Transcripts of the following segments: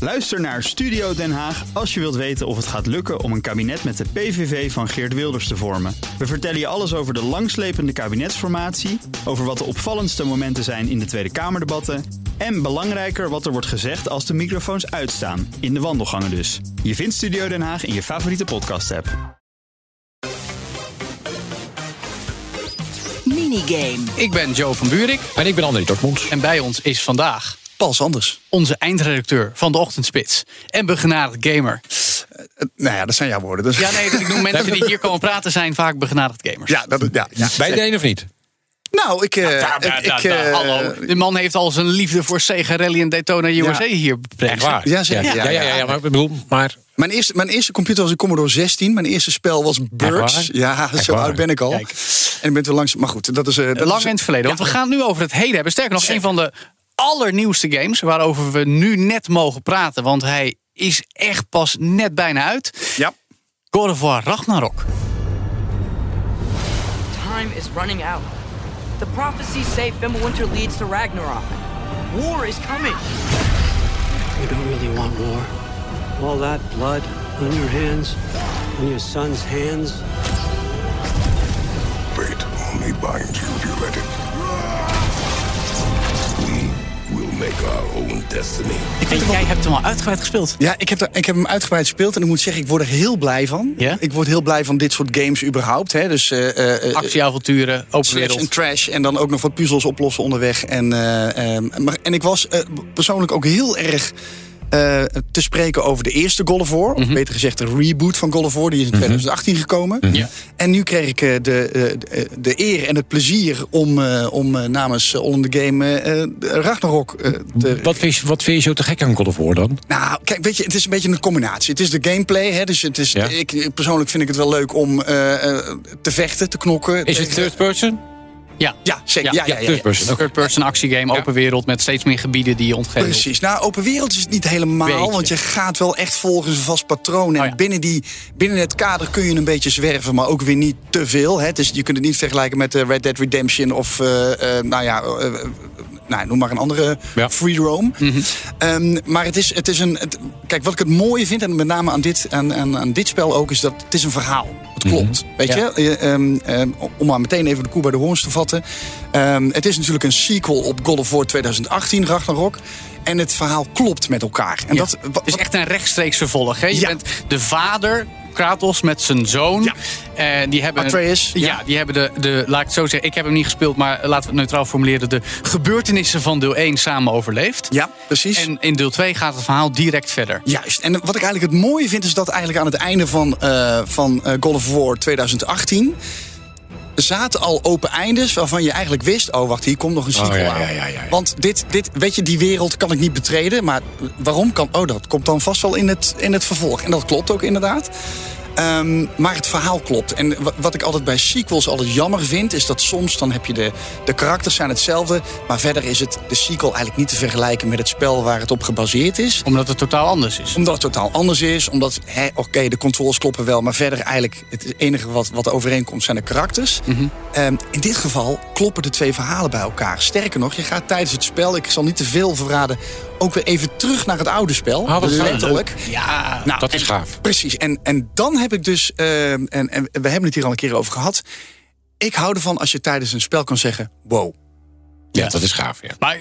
Luister naar Studio Den Haag als je wilt weten of het gaat lukken om een kabinet met de PVV van Geert Wilders te vormen. We vertellen je alles over de langslepende kabinetsformatie, over wat de opvallendste momenten zijn in de Tweede Kamerdebatten en belangrijker wat er wordt gezegd als de microfoons uitstaan, in de wandelgangen dus. Je vindt Studio Den Haag in je favoriete podcast-app. Minigame. Ik ben Joe van Buurik. En ik ben André Dortmonds. En bij ons is vandaag Paul Sanders. onze eindredacteur van de Ochtendspits. En begenadigd gamer. Eh, Nou ja, dat zijn jouw woorden. Dus. Ja, nee, ik noem mensen die hier komen praten zijn vaak begenadigd gamers. Ja, dat, ja, ja. Bij de een of niet? Nou, ik... eh, Ja, ik- da, da, ik, da, eh, hallo. Oh, De man heeft al zijn liefde voor Sega Rally en Daytona USA hier beperkt. Echt waar? Ja, zeker. Ja, ja, ja, ja, maar ik bedoel, maar... Mijn eerste, mijn eerste computer was een Commodore 16. Mijn eerste spel was Birds. waar? Ja, Echt zo waar? oud ben ik al. Kijk. En ik ben te langs... Maar goed, dat is... eh, dat Lang is- in het verleden. Want we gaan het nu over het heden hebben. Sterker nog, een van de allernieuwste games waarover we nu net mogen praten. Want hij is echt pas net bijna uit. Ja. God of War Ragnarok. Time is running out. The prophecies say Fimbulwinter leads to Ragnarok. War is coming. You don't really want war. All that blood on your hands, on your son's hands. Fate only binds you if you let it. We will make our own destiny. jij hebt hem al uitgebreid gespeeld. Ja, ik heb, er- ik heb hem uitgebreid gespeeld en ik moet zeggen, ik word er heel blij van. Ja? Ik word heel blij van dit soort games überhaupt. Hè. Dus eh, eh, eh, Actieavonturen, open Slash en wereld. trash. En dan ook nog wat puzzels oplossen onderweg. En, eh, eh, maar, en ik was eh, persoonlijk ook heel erg eh, te spreken over de eerste God of War. Of beter gezegd de reboot van God of War. Die is in 2018 gekomen. Ja. En nu kreeg ik eh, de, eh, de, de eer en het plezier om, eh, om eh, namens All in the Game eh, eh, de Ragnarok eh, te... Wat vind, je, wat vind je zo te gek aan God of War dan? Nou, kijk, weet je, het is een beetje een combinatie. Het is de gameplay, hè, dus het is, Ja. ik, persoonlijk vind ik het wel leuk om eh, eh, te vechten, te knokken. Is het tegen- third person? Ja. Ja, zeker. Ja, ja, ja, third ja. person. Oké. Third person actiegame, open wereld met steeds meer gebieden die je ontgevelt. Precies. Nou, open wereld is het niet helemaal. Beetje. Want je gaat wel echt volgens een vast patroon. En Oh ja. binnen, die, binnen het kader kun je een beetje zwerven, maar ook weer niet te veel. Hè. Dus je kunt het niet vergelijken met eh, Red Dead Redemption of, eh, eh, nou ja, eh, eh, nou, noem maar een andere Ja. free roam. Mhm. Ehm, maar het is, het is een. het- kijk, wat ik het mooie vind, en met name aan dit, aan, aan, aan dit spel ook, is dat het is een verhaal. Het klopt. Weet Mhm. Ja. je? Eh, ehm, ehm, om maar meteen even de koe bij de hoorns te vatten. Ehm, het is natuurlijk een sequel op God of War 2018, Ragnarok. En het verhaal klopt met elkaar. En Ja. dat, wa- Het is echt een rechtstreeks vervolg. Hè? Je Ja. bent de vader, Kratos, met zijn zoon. Ja. Eh, die hebben Atreus, Ja, ja. die hebben de, de, laat ik het zo zeggen, ik heb hem niet gespeeld, maar laten we het neutraal formuleren. De gebeurtenissen van deel 1 samen overleefd. Ja, precies. En in deel 2 gaat het verhaal direct verder. Juist. En wat ik eigenlijk het mooie vind, is dat eigenlijk aan het einde van, eh van eh, God of War 2018. zaten al open eindes waarvan je eigenlijk wist... oh, wacht, hier komt nog een sequel ja, aan. ja, ja, ja, ja. Want dit, dit, weet je, die wereld kan ik niet betreden. Maar waarom kan... oh, dat komt dan vast wel in het, in het vervolg. En dat klopt ook inderdaad. Ehm, maar het verhaal klopt. En wa- wat ik altijd bij sequels altijd jammer vind... is dat soms dan heb je de... de karakters zijn hetzelfde... maar verder is het de sequel eigenlijk niet te vergelijken... met het spel waar het op gebaseerd is Omdat het totaal anders is. omdat het totaal anders is. Omdat, hè, oké, de controls kloppen wel. Maar verder eigenlijk, het enige wat, wat overeenkomt zijn de karakters. Mhm. Ehm, in dit geval kloppen de twee verhalen bij elkaar. Sterker nog, je gaat tijdens het spel, ik zal niet te veel verraden... ook weer even terug naar het oude spel. Ah, wat gaaf. Letterlijk. Ja, Nou, Dat is en- gaaf. Precies. En, en dan heb ik dus, ehm, en, en we hebben het hier al een keer over gehad... Ik hou ervan als je tijdens een spel kan zeggen, wow. Ja, dat is gaaf, ja. maar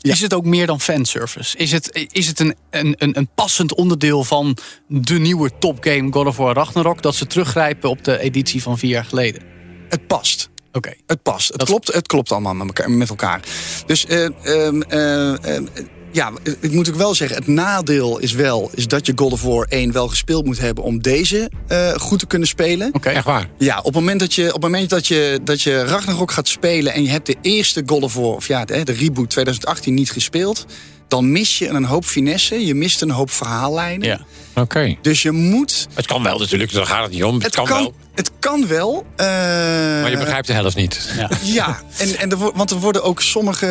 is het ook meer dan fanservice? Is het, is het een, een, een, een passend onderdeel van de nieuwe topgame God of War Ragnarok... dat ze teruggrijpen op de editie van vier jaar geleden? Oké. Het past. Het past. Het, Dat- klopt, het klopt allemaal met elkaar. Met elkaar. Dus eh, ehm, eh, ehm, ja, ik moet ook wel zeggen, het nadeel is wel is dat je God of War 1 wel gespeeld moet hebben om deze eh, goed te kunnen spelen. Oké. Echt waar. Ja, op het moment, dat je, op het moment dat, je, dat je Ragnarok gaat spelen en je hebt de eerste God of War, of ja, de, de reboot 2018 niet gespeeld, dan mis je een hoop finesse, je mist een hoop verhaallijnen. Ja. Oké. Dus je moet Het kan wel natuurlijk, daar gaat het niet om. Het, het kan, kan, wel. het kan wel. eh, Maar je begrijpt de helft niet. Ja, en, en er, wo- want er worden ook sommige.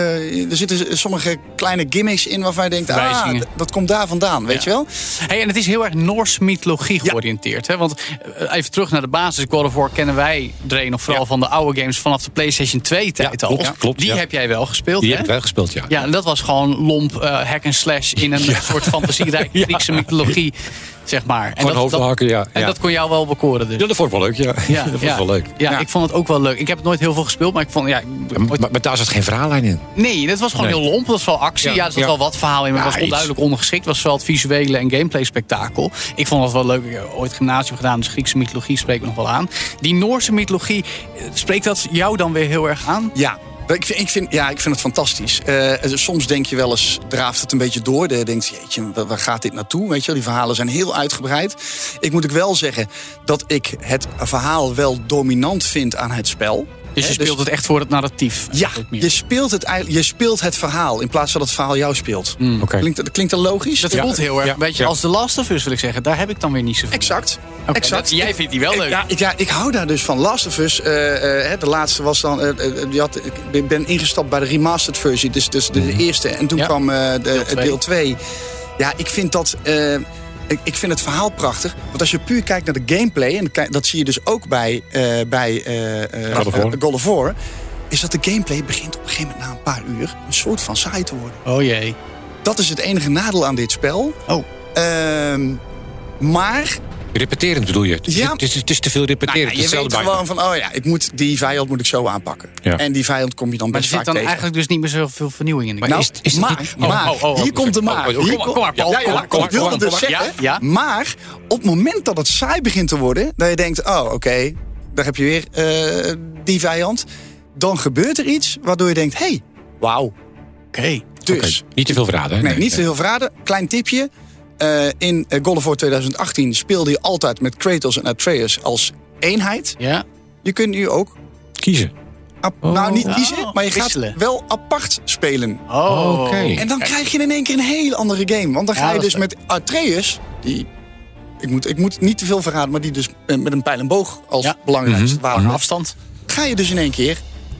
Er zitten sommige kleine gimmicks in waarvan je denkt. Ah, Verwijzingen. d- dat komt daar vandaan, weet Ja. je wel? Hey, en het is heel erg Noors mythologie georiënteerd. Hè? Want eh, even terug naar de basis. God of War kennen wij, Dre, nog vooral van de oude games vanaf de PlayStation 2-tijd Ja, al. klopt, klopt, Die ja. heb jij wel gespeeld, Die hè? heb ik wel gespeeld, ja. Ja, en dat was gewoon lomp eh, hack en slash in een soort fantasierijke Griekse mythologie, zeg maar. En Gewoon hoofdhakken, ja, En ja. dat kon jou wel bekoren, dus. Ja, dat vond ik wel leuk, ja. ja dat vond ik wel leuk. Ja, ik vond het ook wel leuk. Ik heb het nooit heel veel gespeeld, maar ik vond... Ja, ik- Maar, maar daar zat geen verhaallijn in. nee, dat was gewoon Nee. heel lomp. Dat was wel actie. Ja, Ja, er zat ja. wel wat verhaal in, maar Ja, het was iets. onduidelijk ondergeschikt. Het was vooral het visuele en gameplay spektakel. Ik vond dat wel leuk. Ik heb ooit gymnasium gedaan, dus Griekse mythologie spreekt me nog wel aan. Die Noorse mythologie, eh, spreekt dat jou dan weer heel erg aan? Ja. Ik vind, ik vind, ja, ik vind het fantastisch. Eh, soms denk je wel eens, draaft het een beetje door. Dan denk je, jeetje, waar- waar gaat dit naartoe? Weet je, wel, die verhalen zijn heel uitgebreid. Ik moet ook wel zeggen dat ik het verhaal wel dominant vind aan het spel. Dus je Hè, speelt het echt voor het narratief. Ja, dus eigenlijk meer. je speelt, het, eigenlijk- je speelt het verhaal in plaats van dat het verhaal jou speelt. Klinkt, dat- klinkt dat logisch? Hmm, Dat voelt heel erg Ja. een beetje Ja. als The Last of Us, wil ik zeggen. Daar heb ik dan weer niet zoveel. Exact. Oké, exact. dat- jij vindt die wel leuk. Ja, ik, ja, ik hou daar dus van. Last of Us, eh, eh, hè, de laatste was dan... eh, eh, die had, ik ben ingestapt bij de remastered versie, dus, dus de eerste. En toen Ja. kwam eh, de, twee. deel 2. Ja, ik vind dat... eh, ik, ik vind het verhaal prachtig. Want als je puur kijkt naar de gameplay... en ki- dat zie je dus ook bij, eh, bij eh, eh, God of War. eh, God of War... is dat de gameplay begint op een gegeven moment na een paar uur... een soort van saai te worden. Oh jee. Dat is het enige nadeel aan dit spel. Oh. Ehm, maar Repeterend bedoel je? Het is- Ja. Het, is, het is te veel Nou ja, repeterend. je weet hetzelfde bijna. gewoon van, oh ja, ik moet, die vijand moet ik zo aanpakken. Ja. En die vijand kom je dan Maar er best zit vaak dan tegen. eigenlijk dus niet meer zoveel vernieuwing in de game. nou, is- is dat maar, niet- Oh, maar, oh, oh, hier oh, komt de oh, maar. oh, oh, Hier kom maar, komt- kom maar, Paul, Ja, ja, kom maar, ik kom maar, wilde kom maar, dus kom maar. zeggen, Ja, ja. Maar op het moment dat het saai begint te worden... dat je denkt, oh, oké, daar heb je weer eh, die vijand. Dan gebeurt er iets waardoor je denkt, hey, wauw. Oké. Dus, Oké, Niet te veel verraden. hè? nee, niet te veel verraden. Klein tipje. Eh, in eh, God of War 2018 speelde je altijd met Kratos en Atreus als eenheid. Ja. Je kunt nu ook Kiezen. Ap- nou, niet Oh. kiezen, maar je gaat Wisselen. wel apart spelen. Oh. Oké. En dan krijg je in één keer een hele andere game. Want dan Ja, ga je dat is dus met Atreus, die... Ik moet, ik moet niet te veel verraden, maar die dus eh, met een pijl en boog als Ja. Mhm. belangrijkste wapen Lange heeft. afstand. Ga je dus in één keer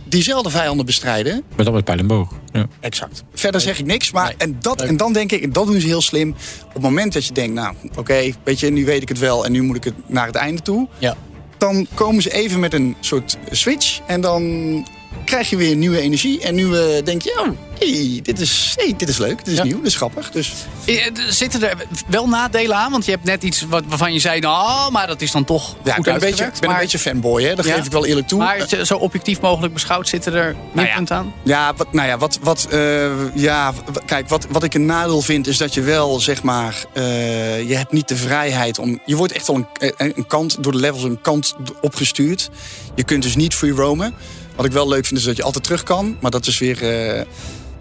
diezelfde vijanden bestrijden. Maar dan met pijl en boog. Ja. Exact. Verder zeg ik niks, maar en, dat, en dan denk ik, en dat doen ze heel slim. Op het moment dat je denkt, nou oké, weet je, nu weet ik het wel en nu moet ik het naar het einde toe. Ja. dan komen ze even met een soort switch. En dan krijg je weer nieuwe energie. En nieuwe, denk je, oh, hey, dit, is, hey, dit is leuk, dit is Ja. nieuw, dit is grappig. Dus Eh, d- Zitten er wel nadelen aan? Want je hebt net iets wat, waarvan je zei, nou, maar dat is dan toch ja, ik goed ben, een beetje, ik uitgewerkt. ben maar, een beetje fanboy, hè? dat Ja. geef ik wel eerlijk toe. Nou maar zo- zo objectief mogelijk beschouwd zitten er minpunten aan? Ja, wat, nou ja, wat, wat, eh, ja, w- kijk, wat, wat ik een nadeel vind is dat je wel, zeg maar, eh, je hebt niet de vrijheid om. Je wordt echt al een, eh, een kant door de levels een kant d- opgestuurd. Je kunt dus niet free roamen. Wat ik wel leuk vind is dat je altijd terug kan, maar dat is weer. eh,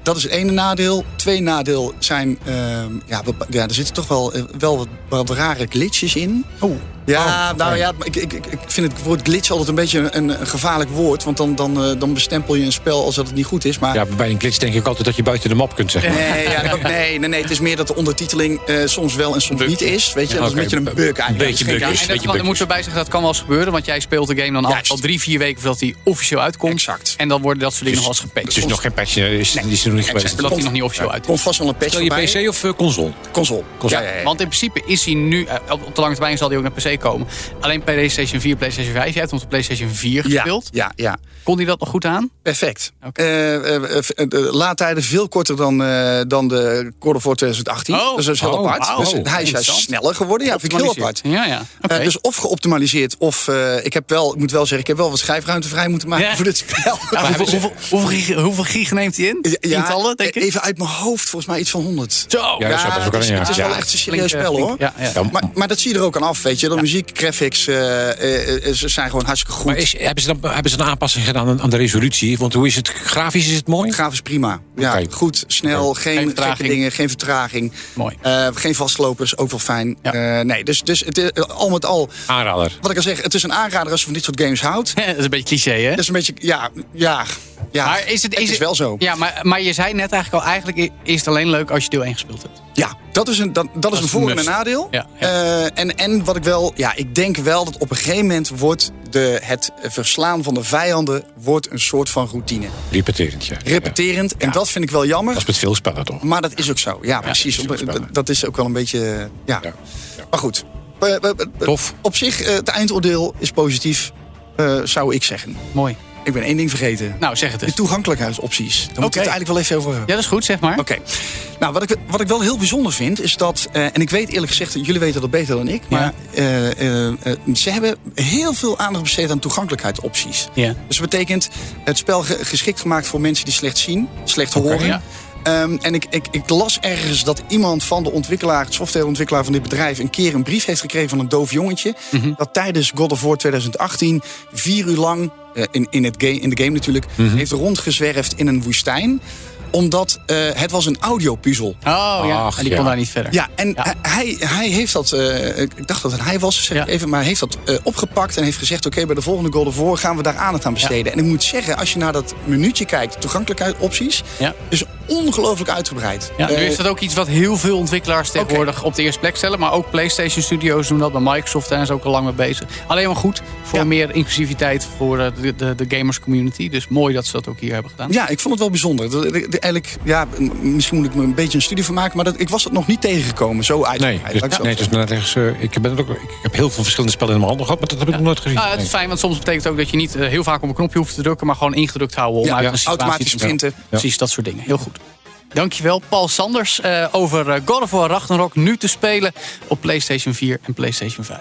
dat is het ene nadeel. Twee nadeel zijn, ehm, ja, bepa- ja, er zitten toch wel, eh, wel wat, wat rare glitches in. Oh. Ja, nou ja, ik, ik, ik ik vind het woord glitch altijd een beetje een, een gevaarlijk woord. Want dan, dan, eh, dan bestempel je een spel als dat het niet goed is. Maar ja, bij een glitch denk ik altijd dat je buiten de map kunt, zeg maar. Nee, ja, dat- nee, nee, nee, het is meer dat de ondertiteling eh, soms wel en soms niet is. Weet je, Ja, dat oké. is een beetje een bug eigenlijk. Beetje Dat is bug geen- is. en beetje dat, dan bugjes. moeten we bij zeggen, dat kan wel eens gebeuren. Want jij speelt de game dan al, Juist. al drie, vier weken voordat die officieel uitkomt. Exact. Dus En dan worden dat soort dingen nog wel eens Het gepatcht. is nog geen patch, eh, is, die is er nog niet geweest. Zodat die nog niet officieel Er uitkomt. komt vast wel een patch Stel je voorbij. PC of eh, console? Console. Console. Ja, ja, ja. Want in principe is hij nu, eh, op op de lange termijn zal hij ook naar PC komen. Alleen PlayStation 4, PlayStation 5. Jij hebt hem op de PlayStation 4 ja, gespeeld. ja, ja. Kon hij dat nog goed aan? Perfect. Oké. Eh, eh, eh, de laadtijden veel korter dan, eh, dan de Quarter 4 2018. Oh, dus dat is heel oh, apart. wauw. Dus hij is juist Interessant. sneller geworden. Ja, vind ik heel apart. Ja, ja. Oké. Eh, dus of geoptimaliseerd, of eh, ik heb wel, ik moet wel zeggen, ik heb wel wat schijfruimte vrij moeten maken Ja. voor dit spel. Ja, hoeveel, hoeveel, hoeveel gig, hoeveel gig neemt hij in? Tientallen, denk ik? Even uit mijn hoofd, volgens mij iets van 100. Zo! Ja, zo, dat is ook het is, een- ja. het is wel Ja, echt een flink, serieus eh, spel flink. hoor. Ja, ja. Ja, Maar, maar dat zie je er ook aan af, weet je. De muziek, graphics, eh, eh, eh, ze zijn gewoon hartstikke goed. Maar is, hebben, ze dan, hebben ze een aanpassing gedaan aan, aan de resolutie? Want hoe is het? Grafisch is het mooi? Grafisch prima. Ja, Oké. goed, snel, geen, gekke vertraging. dingen, geen vertraging. Mooi. Eh, geen vastlopers, ook wel fijn. Ja. Eh, nee, dus, dus het, is- al met al, Aanrader. wat ik al zeg, het is een aanrader als je van dit soort games houdt. dat is een beetje cliché, hè? Dat is een beetje, ja, ja, ja. maar is het, is is het- wel zo. Ja, maar, maar je zei net eigenlijk al, eigenlijk i- is het alleen leuk als je deel 1 gespeeld hebt. Ja, dat is een, dat, dat is een is voor- en must. een nadeel. Ja, ja. Eh, en, en wat ik wel, ja, ik denk wel dat op een gegeven moment wordt de, het verslaan van de vijanden wordt een soort van routine. Repeterend, ja. Repeterend. En dat vind ik wel Ja. Dat jammer. is met veel spellen toch? Maar dat is ook zo. Ja, precies. dat is ook spannend. dat is ook wel een beetje. eh, Ja. Ja. Ja. Maar goed. Eh, eh, eh, Tof. Op zich, eh, het eindoordeel is positief, eh, zou ik zeggen. Mooi. Ik ben één ding vergeten. Nou, zeg het De eens. toegankelijkheidsopties. Daar moeten we Oké. het eigenlijk wel even over hebben. Ja, dat is goed, zeg maar. Oké. Nou, wat ik, wat ik wel heel bijzonder vind, is dat... eh, en ik weet eerlijk gezegd, jullie weten dat beter dan ik... maar eh, eh, eh, ze hebben heel veel aandacht besteed aan toegankelijkheidsopties. Ja. Dus dat betekent het spel ge- geschikt gemaakt voor mensen die slecht zien, slecht horen... ja. Ehm, en ik, ik, ik las ergens dat iemand van de ontwikkelaar, het softwareontwikkelaar van dit bedrijf, een keer een brief heeft gekregen van een doof jongetje. Dat tijdens God of War 2018 vier uur lang, eh, in, in, het game, in de game natuurlijk, heeft rondgezwerfd in een woestijn. Omdat eh, het was een audiopuzzel. Oh ja, Ach, en die ja. kon daar niet verder. Ja, en hij- Hij, hij heeft dat, eh, ik dacht dat het hij was, zeg Ja. ik even, maar hij heeft dat eh, opgepakt en heeft gezegd: Oké, bij de volgende Golden of War gaan we daar aandacht aan besteden. En ik moet zeggen, als je naar dat minuutje kijkt, toegankelijkheid opties, Ja. is ongelooflijk uitgebreid. Ja, nu Eh, is dat ook iets wat heel veel ontwikkelaars tegenwoordig op de eerste plek stellen. Maar ook PlayStation Studios doen dat, maar Microsoft daar is ook al lang mee bezig. Alleen maar goed voor Ja. meer inclusiviteit voor eh, de, de, de gamers community. Dus mooi dat ze dat ook hier hebben gedaan. Ja, ik vond het wel bijzonder. Dat- dat- dat- Eigenlijk, ja, m- misschien moet ik me een beetje een studie van maken, maar dat, ik was dat nog niet tegengekomen. Zo uit. Nee, dus, nee, dus net ergens, eh, ik, ben het ook, ik heb heel veel verschillende spellen in mijn handen gehad, maar dat heb ik nog nooit gezien. Nou, het is Nee. fijn, want soms betekent ook dat je niet eh, heel vaak op een knopje hoeft te drukken, maar gewoon ingedrukt houden om Ja, uit ja, een situatie automatisch te springen. printen. Precies, dat soort dingen. Heel goed. Dankjewel, Paul Sanders, eh, over eh, God of War Ragnarok nu te spelen op PlayStation 4 en PlayStation 5.